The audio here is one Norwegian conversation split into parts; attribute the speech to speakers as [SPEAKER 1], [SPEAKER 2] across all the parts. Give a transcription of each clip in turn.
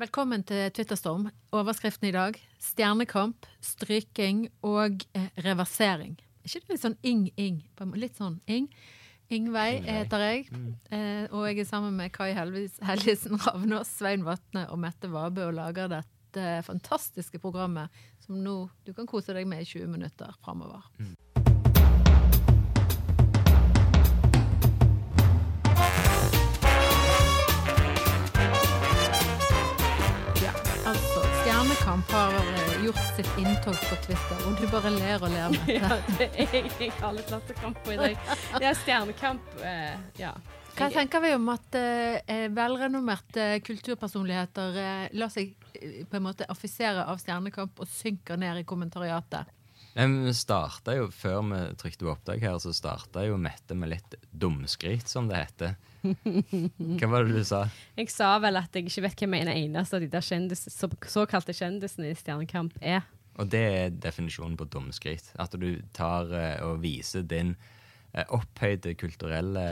[SPEAKER 1] Velkommen til Twitterstorm. Overskriften i dag stjernekamp, stryking og eh, reversering. Er ikke det litt sånn ing-ing? Litt sånn ing. Ingveig heter jeg, eh, og jeg er sammen med Kai Helvis- Helgesen Ravnås, Svein Vatne og Mette Vabø og lager dette eh, fantastiske programmet som nå du kan kose deg med i 20 minutter framover. Ja, altså, Stjernekamp har eh, gjort sitt inntog på Twitter, og du bare ler og ler med
[SPEAKER 2] Ja, det er egentlig alle klatrekamper i dag. Det er stjernekamp. eh, ja.
[SPEAKER 1] Hva tenker vi om at eh, velrenommerte kulturpersonligheter eh, lar seg eh, på en måte affisere av Stjernekamp og synker ned i kommentariatet?
[SPEAKER 3] Vi starta jo, før vi trykte på opptak her, så starta jo Mette med litt dumskryt, som det heter. Hva var det du sa?
[SPEAKER 2] Jeg sa vel at jeg ikke vet hvem en eneste av de der kjendis, så, såkalte kjendisene i Stjernekamp er.
[SPEAKER 3] Og det er definisjonen på dumskryt. At du tar eh, og viser din eh, opphøyde kulturelle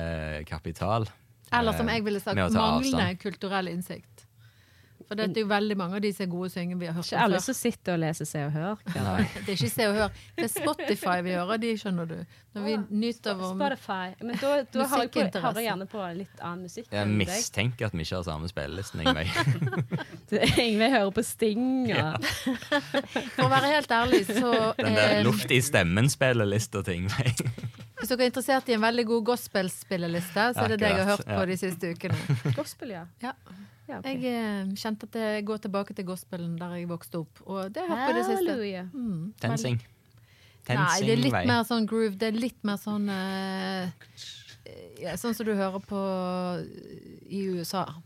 [SPEAKER 3] kapital.
[SPEAKER 1] Eller som
[SPEAKER 3] eh,
[SPEAKER 1] jeg ville sagt,
[SPEAKER 3] med å ta
[SPEAKER 1] manglende
[SPEAKER 3] avstand.
[SPEAKER 1] kulturell innsikt. For det er jo veldig mange av de som er gode syngere vi har hørt
[SPEAKER 2] Ikke alle
[SPEAKER 1] om før.
[SPEAKER 2] som sitter og leser Se og Hør.
[SPEAKER 3] Nei.
[SPEAKER 1] Det er ikke Se og Hør. Det er Spotify vi hører, de skjønner du. Når vi nyter vår
[SPEAKER 2] Spotify. Men da, da hører jeg, på,
[SPEAKER 1] Musikkinteresse.
[SPEAKER 2] hører jeg gjerne på litt annen musikk.
[SPEAKER 3] Jeg
[SPEAKER 2] enn deg.
[SPEAKER 3] mistenker at vi ikke har samme spillelisten. Ingveig.
[SPEAKER 2] Ingve hører på Sting. Og,
[SPEAKER 1] For å være helt ærlig, så
[SPEAKER 3] Den der
[SPEAKER 1] eh,
[SPEAKER 3] luft i stemmen-spillelista til Ingveid.
[SPEAKER 1] Hvis dere er interessert i en veldig god gospelspilleliste, så er det det jeg har hørt
[SPEAKER 3] Akkurat, ja.
[SPEAKER 1] på de siste ukene.
[SPEAKER 2] Gospel, ja.
[SPEAKER 1] Ja.
[SPEAKER 2] ja ok.
[SPEAKER 1] Jeg eh, kjente at jeg går tilbake til gospelen der jeg vokste opp. Og det har jeg hørt på i det siste.
[SPEAKER 2] Halleluja.
[SPEAKER 3] Tensing.
[SPEAKER 1] Nei, det er litt
[SPEAKER 3] Ingveig.
[SPEAKER 1] mer sånn groove. Det er litt mer sånn eh, ja, Sånn som du hører på eh, i USA. Og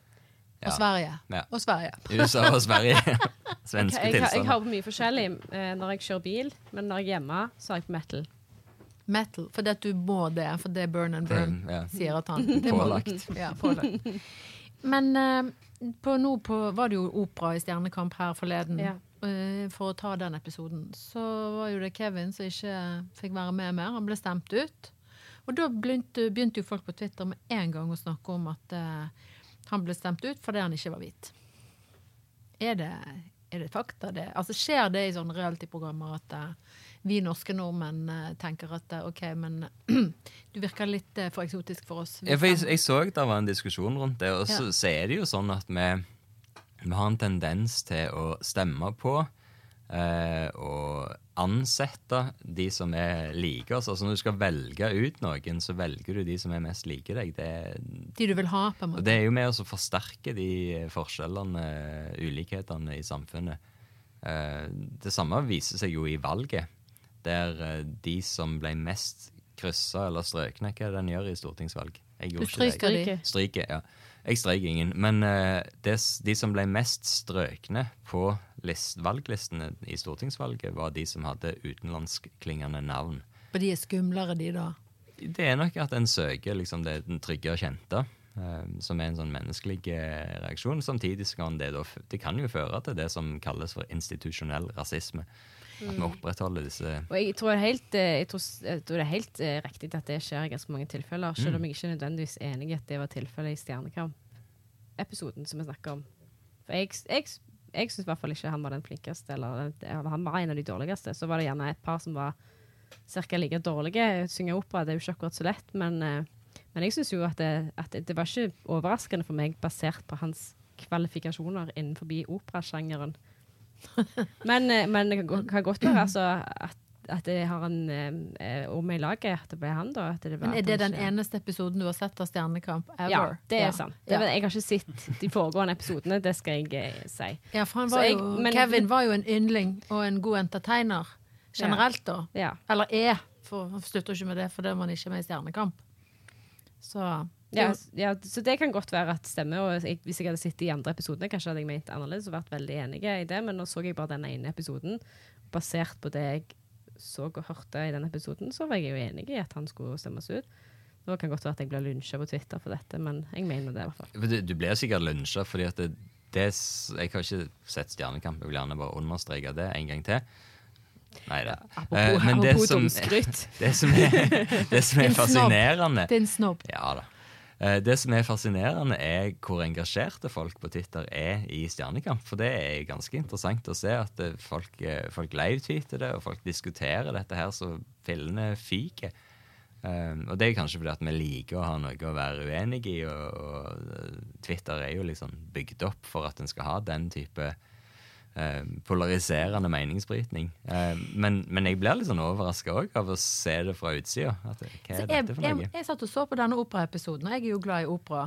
[SPEAKER 3] Ja.
[SPEAKER 1] Sverige.
[SPEAKER 3] Ja.
[SPEAKER 1] Og Sverige.
[SPEAKER 3] USA og Sverige.
[SPEAKER 2] Jeg,
[SPEAKER 3] Svenske
[SPEAKER 2] jeg, jeg,
[SPEAKER 3] tilstander.
[SPEAKER 2] hører på mye forskjellig eh, når jeg kjører bil, men når jeg er hjemme, så hører jeg på metal.
[SPEAKER 1] Metal. Fordi at du må det. For det er burn and burn,
[SPEAKER 3] Det- ja.
[SPEAKER 1] sier at han. Det må- Mm.
[SPEAKER 3] Pålagt.
[SPEAKER 1] Ja, pålagt. Men eh, på, nå på, var det jo opera i Stjernekamp her forleden.
[SPEAKER 2] Ja.
[SPEAKER 1] Eh, for å ta den episoden. Så var jo det Kevin som ikke fikk være med mer. Han ble stemt ut. Og da begynte, begynte jo folk på Twitter med en gang å snakke om at eh, han ble stemt ut fordi han ikke var hvit. Er det, er det fakta, det? Altså Skjer det i sånne reality-programmer at eh, vi norske nordmenn eh, tenker at eh, OK, men du virker litt eh, for eksotisk for oss. Vi
[SPEAKER 3] Ja, for jeg,
[SPEAKER 1] kan-
[SPEAKER 3] jeg så det var en diskusjon rundt det, og så, så er det jo sånn at vi, vi har en tendens til å stemme på eh, og ansette de som er like oss. Altså Når du skal velge ut noen, så velger du de som er mest like deg. Det,
[SPEAKER 1] de du vil ha, på en
[SPEAKER 3] og
[SPEAKER 1] måte.
[SPEAKER 3] det er jo med å så forsterke de forskjellene, ulikhetene i samfunnet. Eh, Det samme viser seg jo i valget, der eh, de som ble mest kryssa eller strøkne, hva er det den gjør i stortingsvalg? Jeg
[SPEAKER 1] Du
[SPEAKER 3] gjorde ikke det.
[SPEAKER 1] stryker de.
[SPEAKER 2] Stryker.
[SPEAKER 3] Stryker, ja. Jeg strøk ingen. Men eh, des, de som ble mest strøkne på list, valglistene i stortingsvalget, var de som hadde utenlandskklingende navn.
[SPEAKER 1] For de er skumlere, de, da.
[SPEAKER 3] Det er nok at en søker liksom, det den trygge og kjente. eh, som er en sånn menneskelig eh, reaksjon. Samtidig så kan det, da, f- det kan jo føre til det som kalles for institusjonell rasisme. At
[SPEAKER 1] Mm.
[SPEAKER 3] vi opprettholder disse
[SPEAKER 2] Og jeg tror, helt, eh, jeg, tror, s- jeg tror det er helt eh, riktig at det skjer i ganske mange tilfeller, selv om jeg ikke nødvendigvis er enig i at det var tilfellet i Stjernekamp-episoden som vi snakker om. For jeg, s- jeg, s- jeg syns i hvert fall ikke han var den flinkeste, eller den- han var en av de dårligste. Så var det gjerne et par som var ca. like dårlige. Synge opera det er jo ikke akkurat så lett, men, eh, men jeg syns jo at, det, at det, det var ikke overraskende for meg basert på hans kvalifikasjoner innenfor operasjangeren. Men, eh, men det kan gå- kan godt være altså, at, at det har en eh, om i laget, at det ble han, da. At det var,
[SPEAKER 1] Men er
[SPEAKER 2] at
[SPEAKER 1] det
[SPEAKER 2] han
[SPEAKER 1] den
[SPEAKER 2] ikke-
[SPEAKER 1] eneste episoden du har sett av Stjernekamp ever?
[SPEAKER 2] Ja, det er sant. Det,
[SPEAKER 1] ja.
[SPEAKER 2] var- Jeg har ikke sett de foregående episodene, det skal jeg eh, si.
[SPEAKER 1] Ja, for han
[SPEAKER 2] Så
[SPEAKER 1] var
[SPEAKER 2] jeg-
[SPEAKER 1] jo,
[SPEAKER 2] men-
[SPEAKER 1] Kevin var jo en yndling og en god entertainer generelt, da.
[SPEAKER 2] Ja.
[SPEAKER 1] Eller er, for han slutter ikke med det fordi man ikke er med i Stjernekamp. Så
[SPEAKER 2] Ja, s- ja, så det kan godt være at stemmer. Og jeg, hvis jeg hadde sett de andre episodene, kanskje hadde jeg ment annerledes og vært veldig enig i det, men nå så jeg bare den ene episoden. Basert på det jeg så og hørte i den episoden, så var jeg jo enig i at han skulle stemmes ut. Nå kan godt være at jeg blir lynsja på Twitter for dette, men jeg mener det i hvert fall.
[SPEAKER 3] For Du, du blir sikkert lunsja, fordi at det, det, s- jeg har ikke sett Stjernekamp. Jeg vil gjerne bare understreke det en gang til. Eh, Nei da.
[SPEAKER 2] Apropos, apropos dumskryt.
[SPEAKER 3] det som er, det som er
[SPEAKER 1] En snobb.
[SPEAKER 3] fascinerende
[SPEAKER 1] det er en snobb.
[SPEAKER 3] Ja da. Eh, Det som er fascinerende, er hvor engasjerte folk på Twitter er i Stjernekamp. For det er ganske interessant å se at eh, folk, eh, folk live-tweeter det, og folk diskuterer dette her så fillene fyker. Um, og det er kanskje fordi at vi liker å ha noe å være uenig i, og, og eh, Twitter er jo liksom bygd opp for at en skal ha den type eh, polariserende meningsbrytning. Eh, men, men jeg blir litt sånn overraska òg av å se det fra utsida. At, eh, hva er
[SPEAKER 1] Så jeg,
[SPEAKER 3] dette for noe?
[SPEAKER 1] jeg, jeg satt og så på denne operaepisoden, og jeg er jo glad i opera.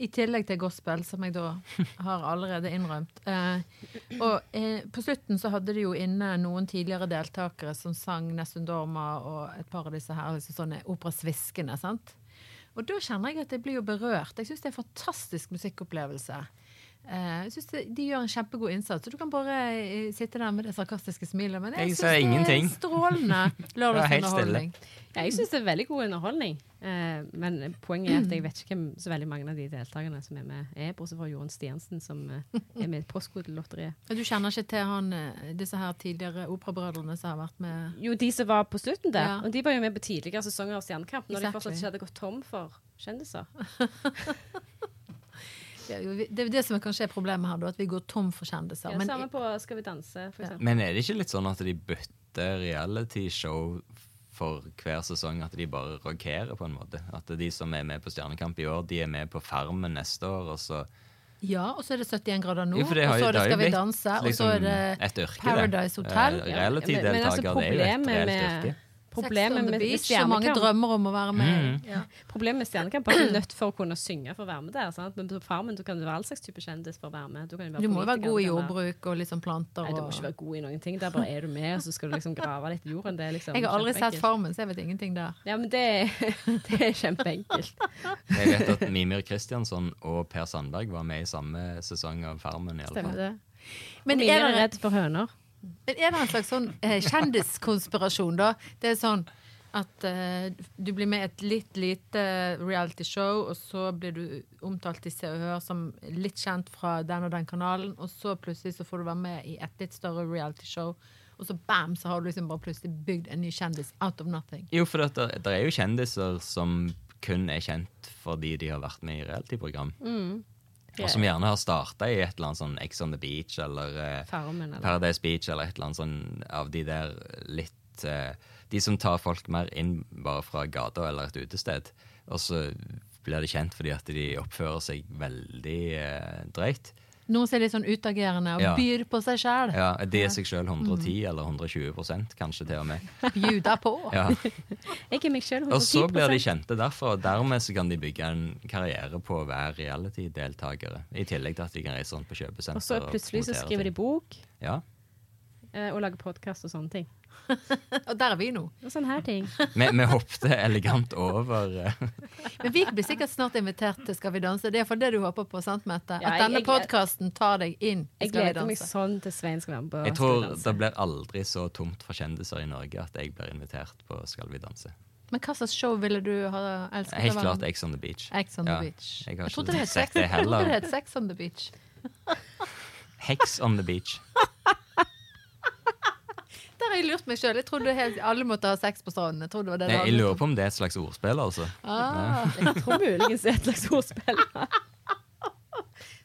[SPEAKER 1] I tillegg til gospel, som jeg da har allerede innrømt. Eh, og eh, på slutten så hadde de jo inne noen tidligere deltakere som sang Nessun Dorma og et par av disse her, liksom sånne operasviskene. sant? Og da kjenner jeg at jeg blir jo berørt. Jeg syns det er en fantastisk musikkopplevelse. Eh, jeg synes det, De gjør en kjempegod innsats. Så du kan bare eh, sitte der med det sarkastiske smilet. Men
[SPEAKER 3] Jeg
[SPEAKER 1] jeg,
[SPEAKER 3] ser
[SPEAKER 1] syns det
[SPEAKER 3] ingenting.
[SPEAKER 1] er strålende
[SPEAKER 3] var helt stille.
[SPEAKER 1] lørdagsunderholdning.
[SPEAKER 2] Ja, jeg syns det er veldig god underholdning, eh, men poenget er at jeg vet ikke hvem så veldig mange av de deltakerne som er med, er, bortsett fra Jorunn Stiansen, som eh, er med i Postkodelotteriet.
[SPEAKER 1] Men Du kjenner ikke til han, eh, disse her tidligere operabrødrene som har vært med
[SPEAKER 2] Jo, de som var på slutten der.
[SPEAKER 1] Ja.
[SPEAKER 2] Og de var jo med på tidligere sesonger av Stjernekamp, når de
[SPEAKER 1] Exactly.
[SPEAKER 2] fortsatt ikke hadde gått tom for kjendiser.
[SPEAKER 1] Det er jo vi- det, er jo det som er kanskje er problemet her, da, at vi går tom for kjendiser.
[SPEAKER 2] Ja,
[SPEAKER 1] Men
[SPEAKER 2] samme på Skal vi danse, for eksempel.
[SPEAKER 3] Men er det ikke litt sånn at de bytter realityshow for hver sesong? At de bare rokerer, på en måte? At de som er med på Stjernekamp i år, de er med på Farmen neste år, og så
[SPEAKER 1] ja, og så er det 71 grader nord,
[SPEAKER 3] Jo, for det har
[SPEAKER 1] og så
[SPEAKER 3] jo-
[SPEAKER 1] er det
[SPEAKER 3] det har jo
[SPEAKER 1] Skal vi
[SPEAKER 3] blitt
[SPEAKER 1] danse, og så
[SPEAKER 3] liksom
[SPEAKER 1] er det
[SPEAKER 3] et yrke, det.
[SPEAKER 1] Paradise Hotel.
[SPEAKER 3] Eh, Reality-deltaker, det er jo et reelt yrke.
[SPEAKER 1] Sex
[SPEAKER 2] altså, Problemet
[SPEAKER 1] on the
[SPEAKER 2] med, med
[SPEAKER 1] beach, og mange
[SPEAKER 2] Stjernekamp
[SPEAKER 1] drømmer om å være med.
[SPEAKER 3] Mm.
[SPEAKER 1] Ja.
[SPEAKER 2] Problemet med Stjernekamp er at du er nødt for å kunne synge for å være med der. Sant? Men på Farmen du kan du være all slags type kjendis for å være med. Du, kan jo
[SPEAKER 1] Du må jo være
[SPEAKER 2] politiker,
[SPEAKER 1] god i
[SPEAKER 2] du kan være-
[SPEAKER 1] jordbruk og liksom planter
[SPEAKER 2] Nei, du må
[SPEAKER 1] og
[SPEAKER 2] ikke være god i noen ting. Der bare er du med, og så skal du liksom grave litt i jorden. Det er liksom
[SPEAKER 1] Jeg har aldri sett
[SPEAKER 2] kjempeenkelt.
[SPEAKER 1] Farmen, så jeg vet ingenting der.
[SPEAKER 2] Ja, men det, det er kjempeenkelt.
[SPEAKER 3] Jeg vet at Mimir Kristiansson og Per Sandberg var med i samme sesong av Farmen. i alle
[SPEAKER 2] Stemmer
[SPEAKER 3] fall.
[SPEAKER 2] det.
[SPEAKER 1] Men
[SPEAKER 2] Mine
[SPEAKER 1] er
[SPEAKER 2] er
[SPEAKER 1] det
[SPEAKER 2] redd for høner.
[SPEAKER 1] Men er det en slags sånn eh, kjendiskonspirasjon, da? Det er sånn at eh, du blir med i et litt lite realityshow, og så blir du omtalt i Se og Hør som litt kjent fra den og den kanalen, og så plutselig så får du være med i et litt større realityshow, og så bam, så har du liksom bare plutselig bygd en ny kjendis out of nothing.
[SPEAKER 3] Jo, for det, det er jo kjendiser som kun er kjent fordi de har vært med i reality-program.
[SPEAKER 2] Mm.
[SPEAKER 3] Og som gjerne har starta i et eller annet sånn Ex on the Beach eller eh,
[SPEAKER 2] Farmen, eller-
[SPEAKER 3] Paradise Beach eller et eller annet sånn av de der litt eh, De som tar folk mer inn bare fra gata eller et utested. Og så blir de kjent fordi at de oppfører seg veldig eh, drøyt.
[SPEAKER 1] Noen som er litt sånn utagerende og
[SPEAKER 3] Ja.
[SPEAKER 1] byr på seg sjæl.
[SPEAKER 3] Ja, De er seg sjøl 110
[SPEAKER 2] Mm.
[SPEAKER 3] eller 120 kanskje til og med.
[SPEAKER 1] Bjuder på.
[SPEAKER 3] Ja.
[SPEAKER 2] Jeg er meg sjøl 110
[SPEAKER 3] Og så blir de kjente derfra, og dermed så kan de bygge en karriere på å være reality-deltakere. I tillegg til at de kan reise rundt på kjøpesenter.
[SPEAKER 2] Og så plutselig så
[SPEAKER 3] promotere
[SPEAKER 2] skriver de
[SPEAKER 3] ting.
[SPEAKER 2] bok
[SPEAKER 3] Ja.
[SPEAKER 2] eh, og lager podkast og sånne ting.
[SPEAKER 1] Og der er vi nå.
[SPEAKER 2] Og sånne her ting.
[SPEAKER 3] Vi, vi hoppet elegant over eh,
[SPEAKER 1] Men vi blir sikkert snart invitert til Skal vi danse. Det er for det du håper på, sant, Mette?
[SPEAKER 2] Ja,
[SPEAKER 1] At
[SPEAKER 2] jeg-
[SPEAKER 1] denne
[SPEAKER 2] jeg-
[SPEAKER 1] podkasten tar deg inn i
[SPEAKER 2] Jeg
[SPEAKER 1] Skal vi
[SPEAKER 2] gleder meg
[SPEAKER 1] danse.
[SPEAKER 2] sånn til Svein skal være med på altså.
[SPEAKER 3] Jeg
[SPEAKER 2] Skal vi
[SPEAKER 3] tror
[SPEAKER 2] danse.
[SPEAKER 3] det blir aldri så tomt for kjendiser i Norge at jeg blir invitert på Skal vi danse.
[SPEAKER 1] Men hva slags show ville du ha elsket? å
[SPEAKER 3] Helt
[SPEAKER 1] være
[SPEAKER 3] klart
[SPEAKER 1] med?
[SPEAKER 3] Ex on the Beach.
[SPEAKER 1] Ex on the
[SPEAKER 3] Ja,
[SPEAKER 1] Beach.
[SPEAKER 3] jeg
[SPEAKER 1] Jeg,
[SPEAKER 3] har ikke
[SPEAKER 1] trodde det het
[SPEAKER 3] sett
[SPEAKER 1] Sex-
[SPEAKER 3] det
[SPEAKER 1] jeg trodde
[SPEAKER 3] heller.
[SPEAKER 1] det het Sex on the Beach.
[SPEAKER 3] Hex on the Beach.
[SPEAKER 1] Der har jeg lurt meg sjøl. Jeg trodde helt, alle måtte ha sex på stranden. Jeg trodde det var det
[SPEAKER 3] Jeg, jeg
[SPEAKER 1] alle-
[SPEAKER 3] lurer på om det er et slags ordspill, altså.
[SPEAKER 1] Ah,
[SPEAKER 2] Jeg tror muligens det er et slags ordspill.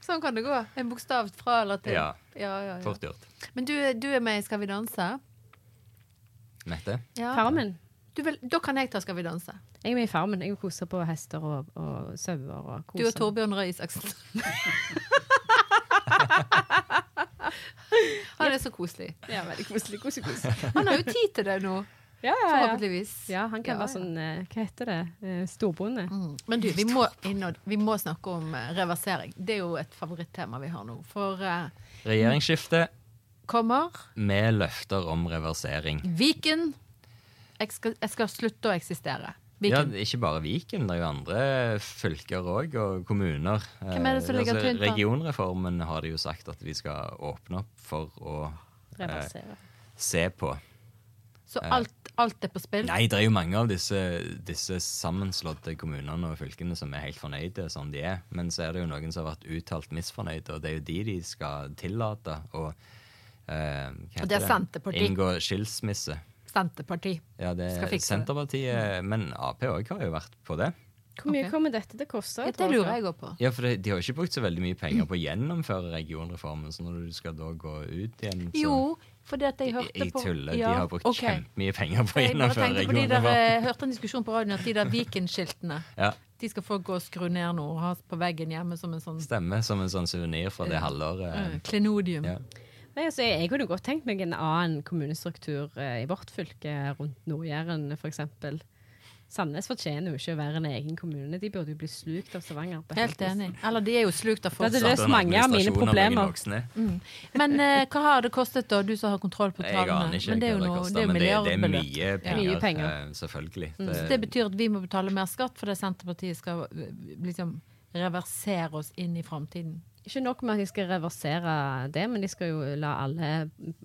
[SPEAKER 1] sånn kan det gå. En bokstav fra eller til.
[SPEAKER 3] Ja.
[SPEAKER 1] Ja, ja, ja.
[SPEAKER 3] Fort gjort.
[SPEAKER 1] Men du, du er med i Skal vi danse?
[SPEAKER 3] Mette?
[SPEAKER 1] Ja.
[SPEAKER 2] Farmen.
[SPEAKER 1] Du vil, da kan jeg ta Skal vi danse.
[SPEAKER 2] Jeg er med i Farmen. Jeg koser på hester og, og sauer og
[SPEAKER 1] Du og
[SPEAKER 2] koser.
[SPEAKER 1] Torbjørn Røe Isaksen. Han er så koselig.
[SPEAKER 2] Ja, veldig koselig. Kose, kose.
[SPEAKER 1] Han har jo tid til det nå,
[SPEAKER 2] Ja, ja, ja.
[SPEAKER 1] forhåpentligvis.
[SPEAKER 2] ja, han kan
[SPEAKER 1] Ja, Mm.
[SPEAKER 2] være
[SPEAKER 1] ja.
[SPEAKER 2] sånn eh, Hva heter det? Eh, Storbonde.
[SPEAKER 1] Men du, vi må, innad, vi må snakke om eh, reversering. Det er jo et favorittema vi har nå. For eh,
[SPEAKER 3] Regjeringsskifte
[SPEAKER 1] kommer
[SPEAKER 3] med løfter om reversering.
[SPEAKER 1] Viken. Jeg skal, jeg skal slutte å eksistere.
[SPEAKER 3] Ja,
[SPEAKER 1] Viken.
[SPEAKER 3] ikke bare Viken, det er jo andre fylker òg, og kommuner.
[SPEAKER 1] Hvem er det som
[SPEAKER 3] Eh,
[SPEAKER 1] ligger tynt an?
[SPEAKER 3] Regionreformen har de jo sagt at de skal åpne opp for å
[SPEAKER 2] Reversere.
[SPEAKER 3] se på.
[SPEAKER 1] Så alt, alt er på spill.
[SPEAKER 3] Nei, det er jo mange av disse, disse sammenslåtte kommunene og fylkene som er helt fornøyde som de er. Men så er det jo noen som har vært uttalt misfornøyde, og det er jo de de skal tillate å eh, hva
[SPEAKER 1] Og det er
[SPEAKER 3] heter
[SPEAKER 1] Senterpartiet.
[SPEAKER 3] Inngå skilsmisse.
[SPEAKER 1] Senterparti.
[SPEAKER 3] Ja, det
[SPEAKER 1] Skal
[SPEAKER 3] er
[SPEAKER 1] fikse det.
[SPEAKER 3] Senterpartiet, men Ap òg har jo vært på det.
[SPEAKER 2] Hvor mye
[SPEAKER 1] Ok.
[SPEAKER 2] kommer dette til å koste?
[SPEAKER 1] Ja, det lurer jeg òg på.
[SPEAKER 3] Ja, for de, de har jo ikke brukt så veldig mye penger på å gjennomføre regionreformen, så når du skal da gå ut igjen, så
[SPEAKER 1] Jo, fordi at jeg
[SPEAKER 3] Jeg,
[SPEAKER 1] hørte
[SPEAKER 3] jeg
[SPEAKER 1] på
[SPEAKER 3] tuller.
[SPEAKER 1] Ja,
[SPEAKER 3] De har brukt
[SPEAKER 1] ok.
[SPEAKER 3] kjempemye penger på å
[SPEAKER 1] Jeg bare
[SPEAKER 3] gjennomføre
[SPEAKER 1] tenkte på de der,
[SPEAKER 3] regionreformen.
[SPEAKER 1] eh, hørte en diskusjon på radioen at de der Viken-skiltene
[SPEAKER 3] Ja.
[SPEAKER 1] De skal folk gå og skru ned nå og ha på veggen hjemme som en sånn
[SPEAKER 3] Stemmer som en sånn suvenir fra det halvåret.
[SPEAKER 1] eh, klenodium.
[SPEAKER 3] Ja.
[SPEAKER 2] Nei, altså, jeg, jeg kunne godt tenkt meg en annen kommunestruktur eh, i vårt fylke, rundt Nord-Jæren f.eks. Sandnes fortjener jo ikke å være en egen kommune. De burde jo bli slukt av Stavanger. på
[SPEAKER 1] Helt
[SPEAKER 2] vis.
[SPEAKER 1] enig. Eller de er jo slukt av
[SPEAKER 2] Det hadde
[SPEAKER 1] fortsatt.
[SPEAKER 2] løst mange av mine problemer. Mm.
[SPEAKER 1] Men eh, hva har det kostet, da? Du som har kontroll på
[SPEAKER 3] Jeg
[SPEAKER 1] tallene.
[SPEAKER 3] aner ikke
[SPEAKER 1] Men det er jo
[SPEAKER 3] hva det
[SPEAKER 1] noe,
[SPEAKER 3] koster,
[SPEAKER 1] det er jo
[SPEAKER 3] men det, det er
[SPEAKER 1] milliardbeløp. Mm.
[SPEAKER 3] mye penger.
[SPEAKER 2] Mye penger.
[SPEAKER 3] eh, selvfølgelig.
[SPEAKER 1] Så det betyr at vi må betale mer skatt fordi Senterpartiet skal eh, liksom reversere oss inn i framtiden.
[SPEAKER 2] Ikke nok med at de skal reversere det, men de skal jo la alle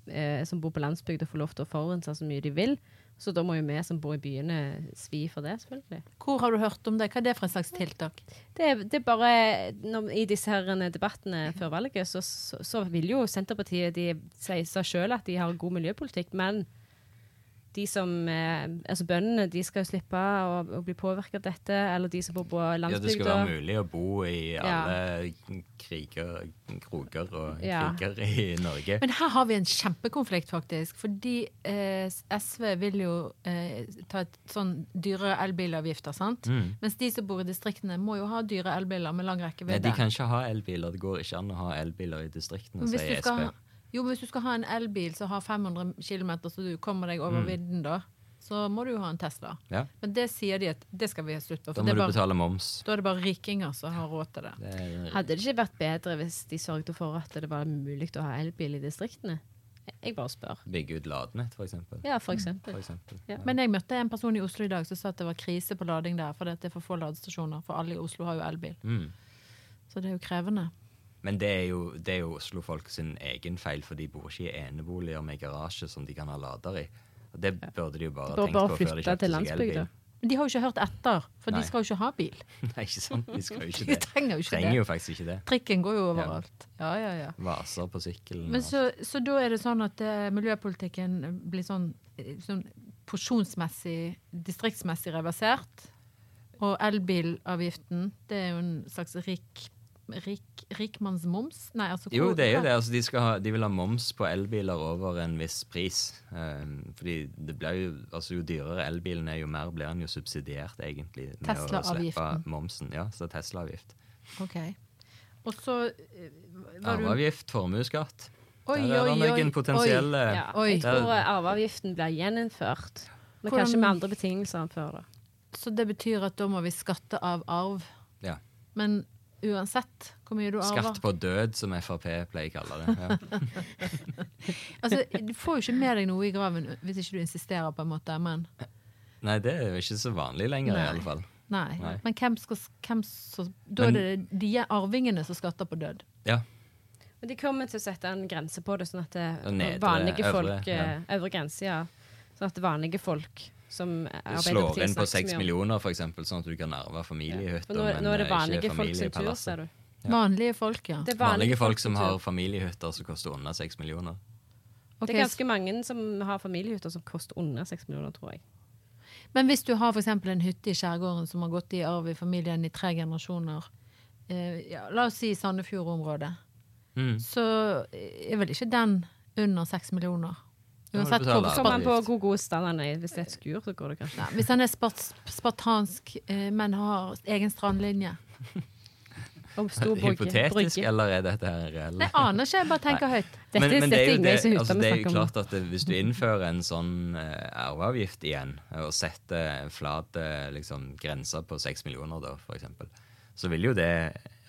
[SPEAKER 2] eh, som bor på landsbygda få lov til å forurense så mye de vil. Så da må jo vi som bor i byene svi for det, selvfølgelig.
[SPEAKER 1] Hvor har du hørt om det? Hva er det for en slags tiltak?
[SPEAKER 2] Det, er- det er bare når, I disse her eh, debattene
[SPEAKER 3] Mhm.
[SPEAKER 2] før valget så, så, så vil jo Senterpartiet De sier seg sjøl at de har god miljøpolitikk, men de som, eh, altså bøndene de skal jo slippe å, å bli påvirka av dette. Eller de som bor på
[SPEAKER 3] ja, det skal
[SPEAKER 2] landsbygda.
[SPEAKER 3] være mulig å bo i
[SPEAKER 2] Ja.
[SPEAKER 3] alle kriger, kroker og
[SPEAKER 2] Ja.
[SPEAKER 3] kriger i Norge.
[SPEAKER 1] Men her har vi en kjempekonflikt, faktisk. Fordi eh, SV vil jo eh, ta et sånn dyre elbilavgifter, sant? Mens de som bor i distriktene, må jo ha dyre elbiler med lang
[SPEAKER 3] Mm. Nei,
[SPEAKER 1] rekkevidde.
[SPEAKER 3] de kan ikke ha elbiler. Det går ikke an å ha elbiler i distriktene,
[SPEAKER 1] Men hvis du
[SPEAKER 3] sier
[SPEAKER 1] skal
[SPEAKER 3] SV.
[SPEAKER 1] ha- Jo, men hvis du skal ha en elbil som har 500 km, så du kommer deg
[SPEAKER 3] Mm.
[SPEAKER 1] over vidden da, så må du jo ha en Tesla.
[SPEAKER 3] Ja.
[SPEAKER 1] Men det sier de at det skal vi ha slutt
[SPEAKER 3] Da
[SPEAKER 1] på. For
[SPEAKER 3] må
[SPEAKER 1] det er
[SPEAKER 3] du
[SPEAKER 1] bare,
[SPEAKER 3] betale moms.
[SPEAKER 1] da er det bare rikinger som har råd til det.
[SPEAKER 3] Det er-
[SPEAKER 2] Hadde det ikke vært bedre hvis de sørget for at det var mulig å ha elbil i distriktene? Jeg bare spør.
[SPEAKER 3] Bygge ut ladenett, for eksempel.
[SPEAKER 2] Ja, for
[SPEAKER 3] For
[SPEAKER 2] eksempel.
[SPEAKER 3] eksempel.
[SPEAKER 2] Ja.
[SPEAKER 1] Men jeg møtte en person i Oslo i dag som sa at det var krise på lading der, fordi at det er for få ladestasjoner, for alle i Oslo har jo elbil.
[SPEAKER 3] Mm.
[SPEAKER 1] Så det er jo krevende.
[SPEAKER 3] Men det er jo, det er jo Oslo-folk sin egen feil, for de bor ikke i eneboliger med garasje som de kan ha lader i. Og det burde de jo bare
[SPEAKER 2] De
[SPEAKER 3] ha
[SPEAKER 2] bør
[SPEAKER 3] tenkt
[SPEAKER 2] bare
[SPEAKER 3] på før de
[SPEAKER 2] flytte
[SPEAKER 3] kjøpte
[SPEAKER 2] til
[SPEAKER 3] seg elbil.
[SPEAKER 2] landsbygda.
[SPEAKER 1] Men de har jo ikke hørt etter, for
[SPEAKER 3] Nei.
[SPEAKER 1] de skal jo ikke ha bil.
[SPEAKER 3] Nei, ikke sant? De skal jo ikke
[SPEAKER 1] De
[SPEAKER 3] det.
[SPEAKER 1] trenger jo ikke
[SPEAKER 3] Trenger jo
[SPEAKER 1] det.
[SPEAKER 3] faktisk ikke det.
[SPEAKER 1] Trikken går jo overalt. Ja, ja, ja.
[SPEAKER 3] Vaser på sykkelen.
[SPEAKER 1] Men
[SPEAKER 3] og-
[SPEAKER 1] så, så da er det sånn at eh, miljøpolitikken blir sånn, eh, sånn porsjonsmessig, distriktsmessig reversert. Og elbilavgiften, det er jo en slags rik, rik, rikmannsmoms? Nei, altså
[SPEAKER 3] Jo,
[SPEAKER 1] hvor-
[SPEAKER 3] det er jo
[SPEAKER 1] hva-
[SPEAKER 3] det. Altså, de, skal ha, de vil ha moms på elbiler over en viss pris. Um, fordi det blir jo, altså, jo dyrere elbilen er, jo mer blir den jo subsidiert, egentlig. Med å slippe
[SPEAKER 1] Tesla-avgiften.
[SPEAKER 3] momsen. Ja, så Tesla-avgift.
[SPEAKER 1] Ok. Og så eh, var du
[SPEAKER 3] Arveavgift, formuesskatt. Der
[SPEAKER 1] Oi,
[SPEAKER 3] er
[SPEAKER 1] oi,
[SPEAKER 3] det
[SPEAKER 1] oi,
[SPEAKER 3] noen
[SPEAKER 1] oi.
[SPEAKER 3] potensielle
[SPEAKER 2] Ja,
[SPEAKER 1] Oi.
[SPEAKER 2] jeg tror eh, arveavgiften blir gjeninnført. Men
[SPEAKER 1] Hvordan-
[SPEAKER 2] kanskje med andre betingelser enn før. da.
[SPEAKER 1] Så det betyr at da må vi skatte av arv.
[SPEAKER 3] Ja.
[SPEAKER 1] Men uansett hvor mye du arver
[SPEAKER 3] Skatt på død, som Frp pleier å kalle det. Ja.
[SPEAKER 1] altså, Du får jo ikke med deg noe i graven hvis ikke du insisterer, på en måte. Men
[SPEAKER 3] Nei, det er jo ikke så vanlig lenger,
[SPEAKER 1] Nei.
[SPEAKER 3] i alle fall.
[SPEAKER 1] Nei.
[SPEAKER 3] Nei.
[SPEAKER 1] Men hvem skal hvem som- Da
[SPEAKER 3] Men-
[SPEAKER 1] er det de arvingene som skatter på død.
[SPEAKER 3] Ja.
[SPEAKER 2] Men de kommer til å sette en grense på det, sånn at det,
[SPEAKER 3] Og nedre,
[SPEAKER 2] vanlige
[SPEAKER 3] øvre,
[SPEAKER 2] folk
[SPEAKER 3] ja.
[SPEAKER 2] eh, Øvre grense, ja. Sånn at vanlige folk som
[SPEAKER 3] Slår
[SPEAKER 2] Arbeiderpartiet
[SPEAKER 3] inn på
[SPEAKER 2] snakker så
[SPEAKER 3] seks
[SPEAKER 2] mye om.
[SPEAKER 3] millioner, for eksempel, sånn at du kan arve
[SPEAKER 2] For
[SPEAKER 3] familiehytter.
[SPEAKER 2] nå,
[SPEAKER 3] men,
[SPEAKER 2] nå er det
[SPEAKER 3] eh, ikke
[SPEAKER 2] vanlige folk sin tur,
[SPEAKER 3] familiepalasset.
[SPEAKER 2] ser du.
[SPEAKER 1] Vanlige folk, ja.
[SPEAKER 2] Det er
[SPEAKER 3] Vanlige folk som
[SPEAKER 2] sin tur.
[SPEAKER 3] har familiehytter som koster under seks millioner.
[SPEAKER 1] Ok,
[SPEAKER 2] Det er ganske mange som har familiehytter som koster under seks millioner, tror jeg.
[SPEAKER 1] Men hvis du har for eksempel en hytte i skjærgården som har gått i arv i familien i tre generasjoner, eh, ja, la oss si Sandefjord-området,
[SPEAKER 3] Mm.
[SPEAKER 1] så er vel ikke den under seks millioner?
[SPEAKER 3] må du
[SPEAKER 1] Uansett
[SPEAKER 3] betale
[SPEAKER 1] hvor
[SPEAKER 3] arv.
[SPEAKER 2] Kommer an på
[SPEAKER 3] Avgift.
[SPEAKER 2] hvor god stand han er i. Hvis det er et skur, så går det kanskje.
[SPEAKER 1] Nei, Hvis han er spart, spartansk, eh, men har egen strandlinje.
[SPEAKER 2] Om stor brygge.
[SPEAKER 3] Hypotetisk,
[SPEAKER 2] brygge.
[SPEAKER 3] eller er dette her reelt?
[SPEAKER 1] Nei, Jeg aner ikke, jeg bare tenker høyt.
[SPEAKER 2] Dette,
[SPEAKER 3] men, men det
[SPEAKER 2] dette
[SPEAKER 3] er jo det,
[SPEAKER 2] Ingrid som
[SPEAKER 3] altså,
[SPEAKER 2] hytter vi
[SPEAKER 3] det er jo
[SPEAKER 2] snakker om.
[SPEAKER 3] klart at eh, hvis du innfører en sånn eh, arveavgift igjen, eh, og setter en flat eh, liksom, grense på seks millioner, da, for eksempel, så vil jo det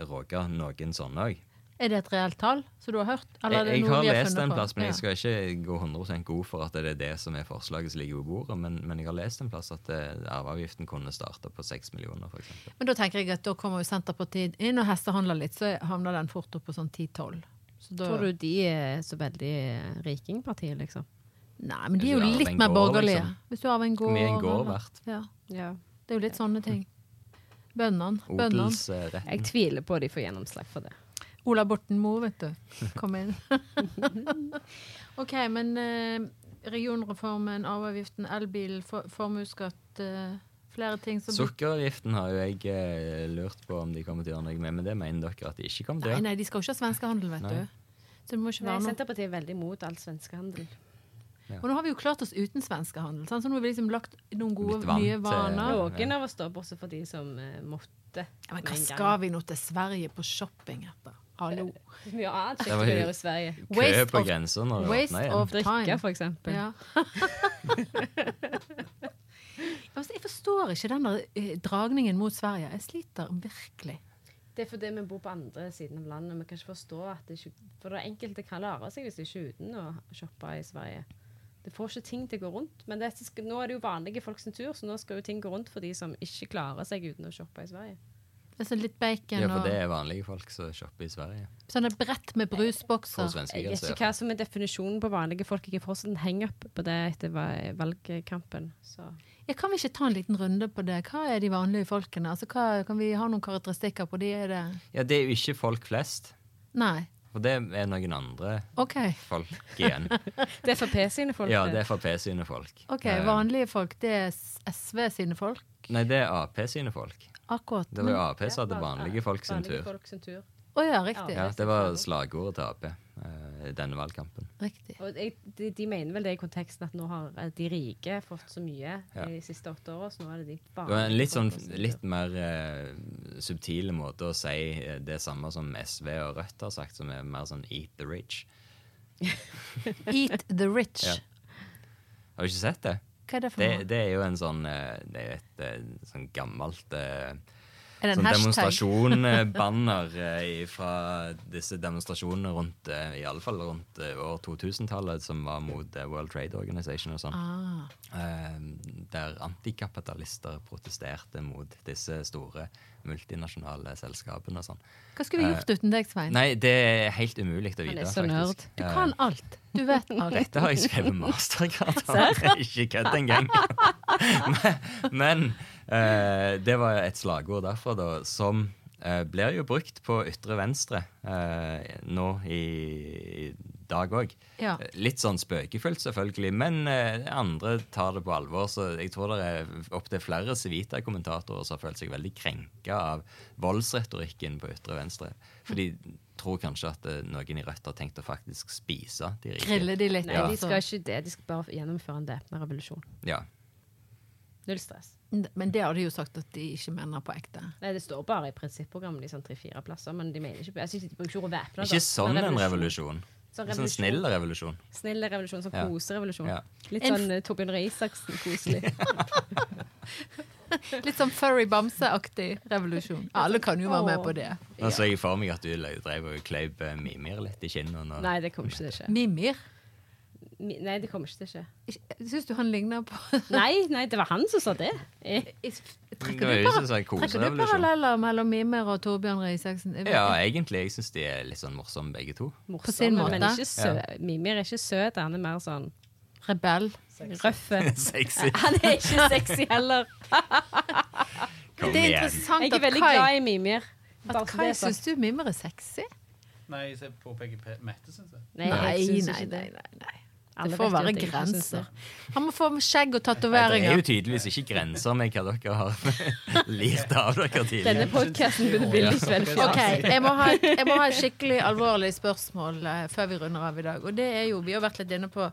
[SPEAKER 3] råke noen sånne òg.
[SPEAKER 1] Er det et reelt tall som du har hørt?
[SPEAKER 3] Jeg,
[SPEAKER 1] Eller er det
[SPEAKER 3] jeg
[SPEAKER 1] noe
[SPEAKER 3] har
[SPEAKER 1] vi
[SPEAKER 3] lest
[SPEAKER 1] funnet
[SPEAKER 3] en
[SPEAKER 1] på?
[SPEAKER 3] plass, men
[SPEAKER 1] Ja.
[SPEAKER 3] jeg skal ikke gå 100 god for at det er det som er forslaget som ligger på bordet, men, men jeg har lest en plass at eh, arveavgiften kunne starte på seks millioner, for eksempel.
[SPEAKER 1] Men da tenker jeg at da kommer jo Senterpartiet inn og hestehandler litt, så havner den fort opp på sånn 10-12. Så da-
[SPEAKER 2] Tror du de er så veldig eh, rikingpartiet, liksom?
[SPEAKER 1] Nei, men de er
[SPEAKER 3] Hvis du arver
[SPEAKER 1] jo litt
[SPEAKER 3] en
[SPEAKER 1] mer
[SPEAKER 3] gård,
[SPEAKER 1] borgerlige.
[SPEAKER 3] liksom.
[SPEAKER 1] Hvis du arver en gård.
[SPEAKER 3] mye en gård
[SPEAKER 1] eller-
[SPEAKER 3] verdt?
[SPEAKER 1] Ja,
[SPEAKER 2] Ja.
[SPEAKER 1] det er jo litt sånne ting. Bøndene. Bøndene.
[SPEAKER 3] Odelsrett.
[SPEAKER 2] Jeg tviler på de får gjennomslag for det.
[SPEAKER 1] Ola Borten Moe, vet du. Kom inn. OK, men eh, regionreformen, arveavgiften, elbil, for, formuesskatt, eh, flere ting som
[SPEAKER 3] Sukkeravgiften har jo jeg eh, lurt på om de kommer til å gjøre noe med, men det mener dere at de ikke kommer til å
[SPEAKER 1] Nei,
[SPEAKER 3] gjøre?
[SPEAKER 1] nei, de skal jo ikke ha svenskehandel, vet
[SPEAKER 3] Nei.
[SPEAKER 1] du. Så det må ikke
[SPEAKER 2] Nei,
[SPEAKER 1] være noe
[SPEAKER 2] Senterpartiet er veldig mot all svenskehandel.
[SPEAKER 1] Og nå har vi jo klart oss uten svenskehandel, sant? så nå har vi liksom lagt noen gode,
[SPEAKER 3] Blitt vant
[SPEAKER 1] nye
[SPEAKER 3] til-
[SPEAKER 1] vaner.
[SPEAKER 2] Noen av oss står bortsett fra de som eh, måtte.
[SPEAKER 1] Ja, men hva skal vi nå til Sverige på shopping etter? Hallo.
[SPEAKER 2] Mye annet
[SPEAKER 3] Det
[SPEAKER 2] kjekt
[SPEAKER 3] var
[SPEAKER 2] å
[SPEAKER 3] jo-
[SPEAKER 2] gjøre i Sverige.
[SPEAKER 3] Kø
[SPEAKER 1] Waste
[SPEAKER 3] på
[SPEAKER 1] of-
[SPEAKER 3] grensa når det
[SPEAKER 1] waste
[SPEAKER 3] åpner igjen.
[SPEAKER 1] of
[SPEAKER 2] Drikke,
[SPEAKER 1] time.
[SPEAKER 2] for eksempel.
[SPEAKER 1] Ja. altså, jeg forstår ikke den der eh, dragningen mot Sverige. Jeg sliter virkelig.
[SPEAKER 2] Det er fordi vi bor på andre siden av landet. Vi kan ikke forstå at det ikke, For det er enkelte kan lære seg hvis de ikke er uten å shoppe i Sverige. Det får ikke ting til å gå rundt. Men dette skal, nå er det jo vanlige folk sin tur, så nå skal jo ting gå rundt for de som ikke klarer seg uten å shoppe i Sverige.
[SPEAKER 1] Altså litt bacon
[SPEAKER 3] Ja, for
[SPEAKER 1] og
[SPEAKER 3] det er vanlige folk som shopper i Sverige.
[SPEAKER 1] sånne brett med
[SPEAKER 3] På
[SPEAKER 1] brusbokser.
[SPEAKER 3] svenske
[SPEAKER 2] Jeg vet
[SPEAKER 3] grenser.
[SPEAKER 2] ikke hva som er definisjonen på vanlige folk. Jeg er fortsatt en hang-up på det etter va- valgkampen. Så.
[SPEAKER 1] Ja, kan vi ikke ta en liten runde på det? Hva er de vanlige folkene? Altså, hva, kan vi ha noen karakteristikker på de? Er det
[SPEAKER 3] Ja, det er jo ikke folk flest.
[SPEAKER 1] Nei.
[SPEAKER 3] For det er noen andre
[SPEAKER 1] OK.
[SPEAKER 3] folk igjen.
[SPEAKER 2] Det er Frp sine folk.
[SPEAKER 3] Ja, det er Frp sine folk.
[SPEAKER 1] ok,
[SPEAKER 3] Eh,
[SPEAKER 1] Vanlige folk, det er s- SV sine folk.
[SPEAKER 3] Nei, det er Ap sine folk.
[SPEAKER 1] Akkurat.
[SPEAKER 3] Det var jo
[SPEAKER 1] men-
[SPEAKER 3] Ap som hadde vanlige folk sin
[SPEAKER 2] Vanlige
[SPEAKER 3] tur.
[SPEAKER 2] folk sin tur.
[SPEAKER 1] Å ja, riktig.
[SPEAKER 3] Ja, Det var slagordet til Ap eh, i denne valgkampen.
[SPEAKER 1] riktig.
[SPEAKER 2] Og jeg, de, de mener vel det i konteksten at nå har eh, de rike fått så mye
[SPEAKER 3] Ja.
[SPEAKER 2] de siste åtte åra, så nå er det de
[SPEAKER 3] Det var en litt, sånn,
[SPEAKER 2] folkene sin tur.
[SPEAKER 3] litt mer eh, subtile måte å si eh, det samme som SV og Rødt har sagt, som er mer sånn eat the rich.
[SPEAKER 1] Eat the rich.
[SPEAKER 3] Ja. Har du ikke sett det?
[SPEAKER 1] Hva er det for
[SPEAKER 3] Det,
[SPEAKER 1] noe?
[SPEAKER 3] det er jo en sånn eh, Det er et eh, sånn gammelt eh,
[SPEAKER 1] Er det en
[SPEAKER 3] sånn
[SPEAKER 1] hashtag?
[SPEAKER 3] demonstrasjon-banner fra disse demonstrasjonene rundt eh, i alle fall rundt eh, år 2000-tallet, som var mot eh, World Trade Organization og sånn.
[SPEAKER 1] Ah.
[SPEAKER 3] Eh, Der antikapitalister protesterte mot disse store multinasjonale selskapene og sånn.
[SPEAKER 1] Hva skulle vi gjort uten deg, Svein?
[SPEAKER 3] Nei, det er helt umulig å
[SPEAKER 2] Han er
[SPEAKER 3] vite,
[SPEAKER 2] så
[SPEAKER 3] faktisk.
[SPEAKER 2] nerd.
[SPEAKER 1] Du kan alt. Du vet alt.
[SPEAKER 3] Dette har jeg skrevet mastergrad om. Ikke kødd engang. Men eh, det var et slagord derfra, da, som eh, blir jo brukt på ytre venstre eh, nå i, i dag òg.
[SPEAKER 1] Ja.
[SPEAKER 3] Litt sånn spøkefullt, selvfølgelig, men eh, andre tar det på alvor. Så jeg tror det er opptil flere Civita-kommentatorer som har følt seg veldig krenka av voldsretorikken på ytre venstre. For de tror kanskje at eh, noen i Rødt har tenkt å faktisk spise de rike.
[SPEAKER 1] Grille de litt.
[SPEAKER 2] Nei,
[SPEAKER 3] Ja.
[SPEAKER 2] de skal ikke det. De skal bare gjennomføre en væpna revolusjon.
[SPEAKER 3] Ja.
[SPEAKER 2] Null stress.
[SPEAKER 1] Men det har de jo sagt at de ikke mener på ekte.
[SPEAKER 2] Nei, Det står bare i prinsipprogrammet i sånn tre-fire plasser, men de mener ikke altså, de bruker ikke ordet væpna.
[SPEAKER 3] Ikke sånn en revolusjon. Sånn
[SPEAKER 2] Sånn revolusjon.
[SPEAKER 3] snill revolusjon.
[SPEAKER 2] Snill revolusjon, sånn
[SPEAKER 3] Ja.
[SPEAKER 2] koserevolusjon.
[SPEAKER 3] Ja.
[SPEAKER 2] Litt
[SPEAKER 1] En f-
[SPEAKER 2] sånn eh, Torbjørn Røe Isaksen, koselig.
[SPEAKER 1] Litt sånn furry bamse-aktig revolusjon. Alle kan jo være med på det.
[SPEAKER 3] Nå så Altså, jeg for meg at du løy- drev og kleip eh, Mimir litt i kinnet. nå.
[SPEAKER 2] Nei, det kommer ikke til å skje.
[SPEAKER 1] Mimir.
[SPEAKER 2] Mi- Nei, det kommer ikke til å skje.
[SPEAKER 1] Syns du han ligner på
[SPEAKER 2] Nei, nei, det var han som sa det. Eh,
[SPEAKER 3] Det var
[SPEAKER 1] Trekker
[SPEAKER 3] jo
[SPEAKER 1] du,
[SPEAKER 3] ikke
[SPEAKER 1] para
[SPEAKER 3] sånn
[SPEAKER 1] trekker du
[SPEAKER 3] koserevolusjon.
[SPEAKER 1] paralleller mellom Mimir og Torbjørn Røe Isaksen? Jeg vet-
[SPEAKER 3] Ja, egentlig. Jeg syns de er litt sånn morsomme, begge to.
[SPEAKER 2] Morsomme,
[SPEAKER 1] sin måte.
[SPEAKER 2] men ikke sø Mimir er ikke søt. Han er mer sånn
[SPEAKER 1] Rebell.
[SPEAKER 2] Røffe.
[SPEAKER 3] Sexy.
[SPEAKER 2] Han er ikke sexy heller.
[SPEAKER 3] Kom
[SPEAKER 1] Det er
[SPEAKER 3] igjen.
[SPEAKER 1] interessant
[SPEAKER 2] Jeg er
[SPEAKER 1] at
[SPEAKER 2] veldig
[SPEAKER 1] Kai,
[SPEAKER 2] glad i altså. mimer. Bare
[SPEAKER 1] at
[SPEAKER 2] så det
[SPEAKER 1] Kai
[SPEAKER 2] er sagt.
[SPEAKER 1] syns du mimer er sexy.
[SPEAKER 4] Nei, jeg påpeker Pe- Mette, syns jeg.
[SPEAKER 2] Nei, jeg syns ikke det.
[SPEAKER 1] nei.
[SPEAKER 2] Alle
[SPEAKER 1] Det får
[SPEAKER 2] vet jo
[SPEAKER 1] være
[SPEAKER 2] at jeg ikke syns det.
[SPEAKER 1] grenser. Han må få skjegg og
[SPEAKER 3] Det er
[SPEAKER 1] tatoveringer.
[SPEAKER 3] jo tydeligvis ikke grenser med hva dere har lirt av dere
[SPEAKER 2] Denne
[SPEAKER 3] tidligere.
[SPEAKER 2] podkasten burde bli litt vel
[SPEAKER 1] Ok, jeg må, ha et, jeg må ha et skikkelig alvorlig spørsmål eh, før vi runder av i dag. Og det er jo, Vi har vært litt inne på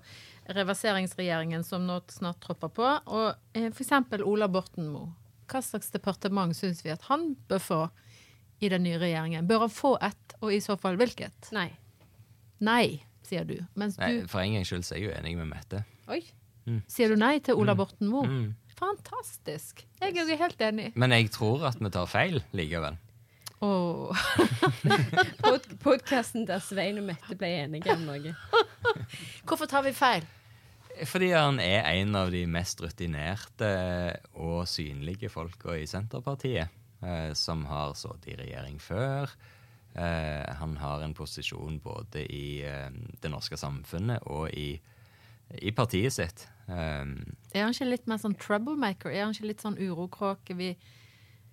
[SPEAKER 1] reverseringsregjeringen som nå snart tropper på. Og eh, for eksempel Ola Borten Moe. Hva slags departement syns vi at han bør få i den nye regjeringen? Bør han få ett, og i så fall hvilket?
[SPEAKER 2] Nei.
[SPEAKER 1] Nei, sier du. Mens
[SPEAKER 3] Nei,
[SPEAKER 1] du
[SPEAKER 3] for en gangs skyld så er jeg jo enig med Mette.
[SPEAKER 2] Oi.
[SPEAKER 1] sier du nei til
[SPEAKER 3] Mm.
[SPEAKER 1] Ola Borten Moe. Fantastisk. Jeg er jo helt enig.
[SPEAKER 3] Men jeg tror at vi tar feil likevel.
[SPEAKER 1] Åh.
[SPEAKER 2] Podkasten der Svein og Mette ble enige om noe.
[SPEAKER 1] Hvorfor tar vi feil?
[SPEAKER 3] Fordi han er en av de mest rutinerte og synlige folka i Senterpartiet. Eh, som har sittet i regjering før. Eh, han har en posisjon både i eh, det norske samfunnet og i, i partiet sitt. Eh,
[SPEAKER 1] Er han ikke litt mer sånn troublemaker? Er han ikke litt sånn urokråke? Vi,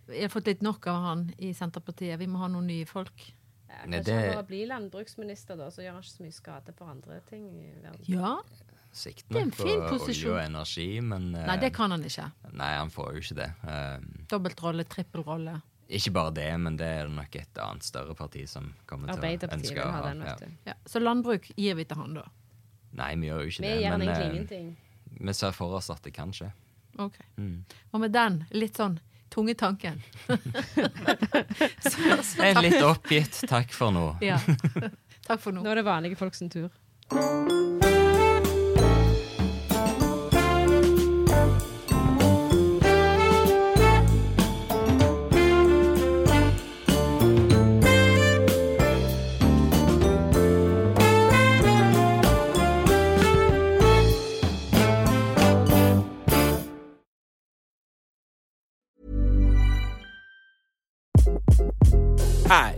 [SPEAKER 1] vi har fått litt nok av han i Senterpartiet. Vi må ha noen nye folk.
[SPEAKER 3] Nei,
[SPEAKER 2] Kanskje
[SPEAKER 3] det-
[SPEAKER 2] han bare blir landbruksminister, da, så gjør han ikke så mye skade for andre ting i verden.
[SPEAKER 1] Ja.
[SPEAKER 3] sikten
[SPEAKER 1] Det er en
[SPEAKER 3] på
[SPEAKER 1] fin
[SPEAKER 3] olje
[SPEAKER 1] posisjon.
[SPEAKER 3] og energi, men eh,
[SPEAKER 1] Nei, det kan han ikke.
[SPEAKER 3] nei, han får jo ikke det. Eh,
[SPEAKER 1] Dobbeltrolle, trippelrolle.
[SPEAKER 3] ikke bare det, men det er nok et annet større parti som kommer til å
[SPEAKER 2] Arbeiderpartiet
[SPEAKER 3] ønske
[SPEAKER 2] vil
[SPEAKER 3] å
[SPEAKER 2] ha
[SPEAKER 3] ha
[SPEAKER 2] den,
[SPEAKER 3] ja.
[SPEAKER 2] vet du.
[SPEAKER 1] Ja. Så landbruk gir vi til han, da.
[SPEAKER 3] Nei, vi gjør jo ikke
[SPEAKER 2] Vi
[SPEAKER 3] det.
[SPEAKER 2] gjør han egentlig
[SPEAKER 3] eh,
[SPEAKER 2] ingenting.
[SPEAKER 3] Vi ser for oss at det kan skje.
[SPEAKER 1] Ok. Og med den litt sånn tunge tanken så, så
[SPEAKER 3] Jeg er
[SPEAKER 1] takk.
[SPEAKER 3] litt oppgitt. Takk for nå.
[SPEAKER 1] Ja. Takk for nå.
[SPEAKER 2] Nå er det vanlige folk sin tur.
[SPEAKER 5] Hi,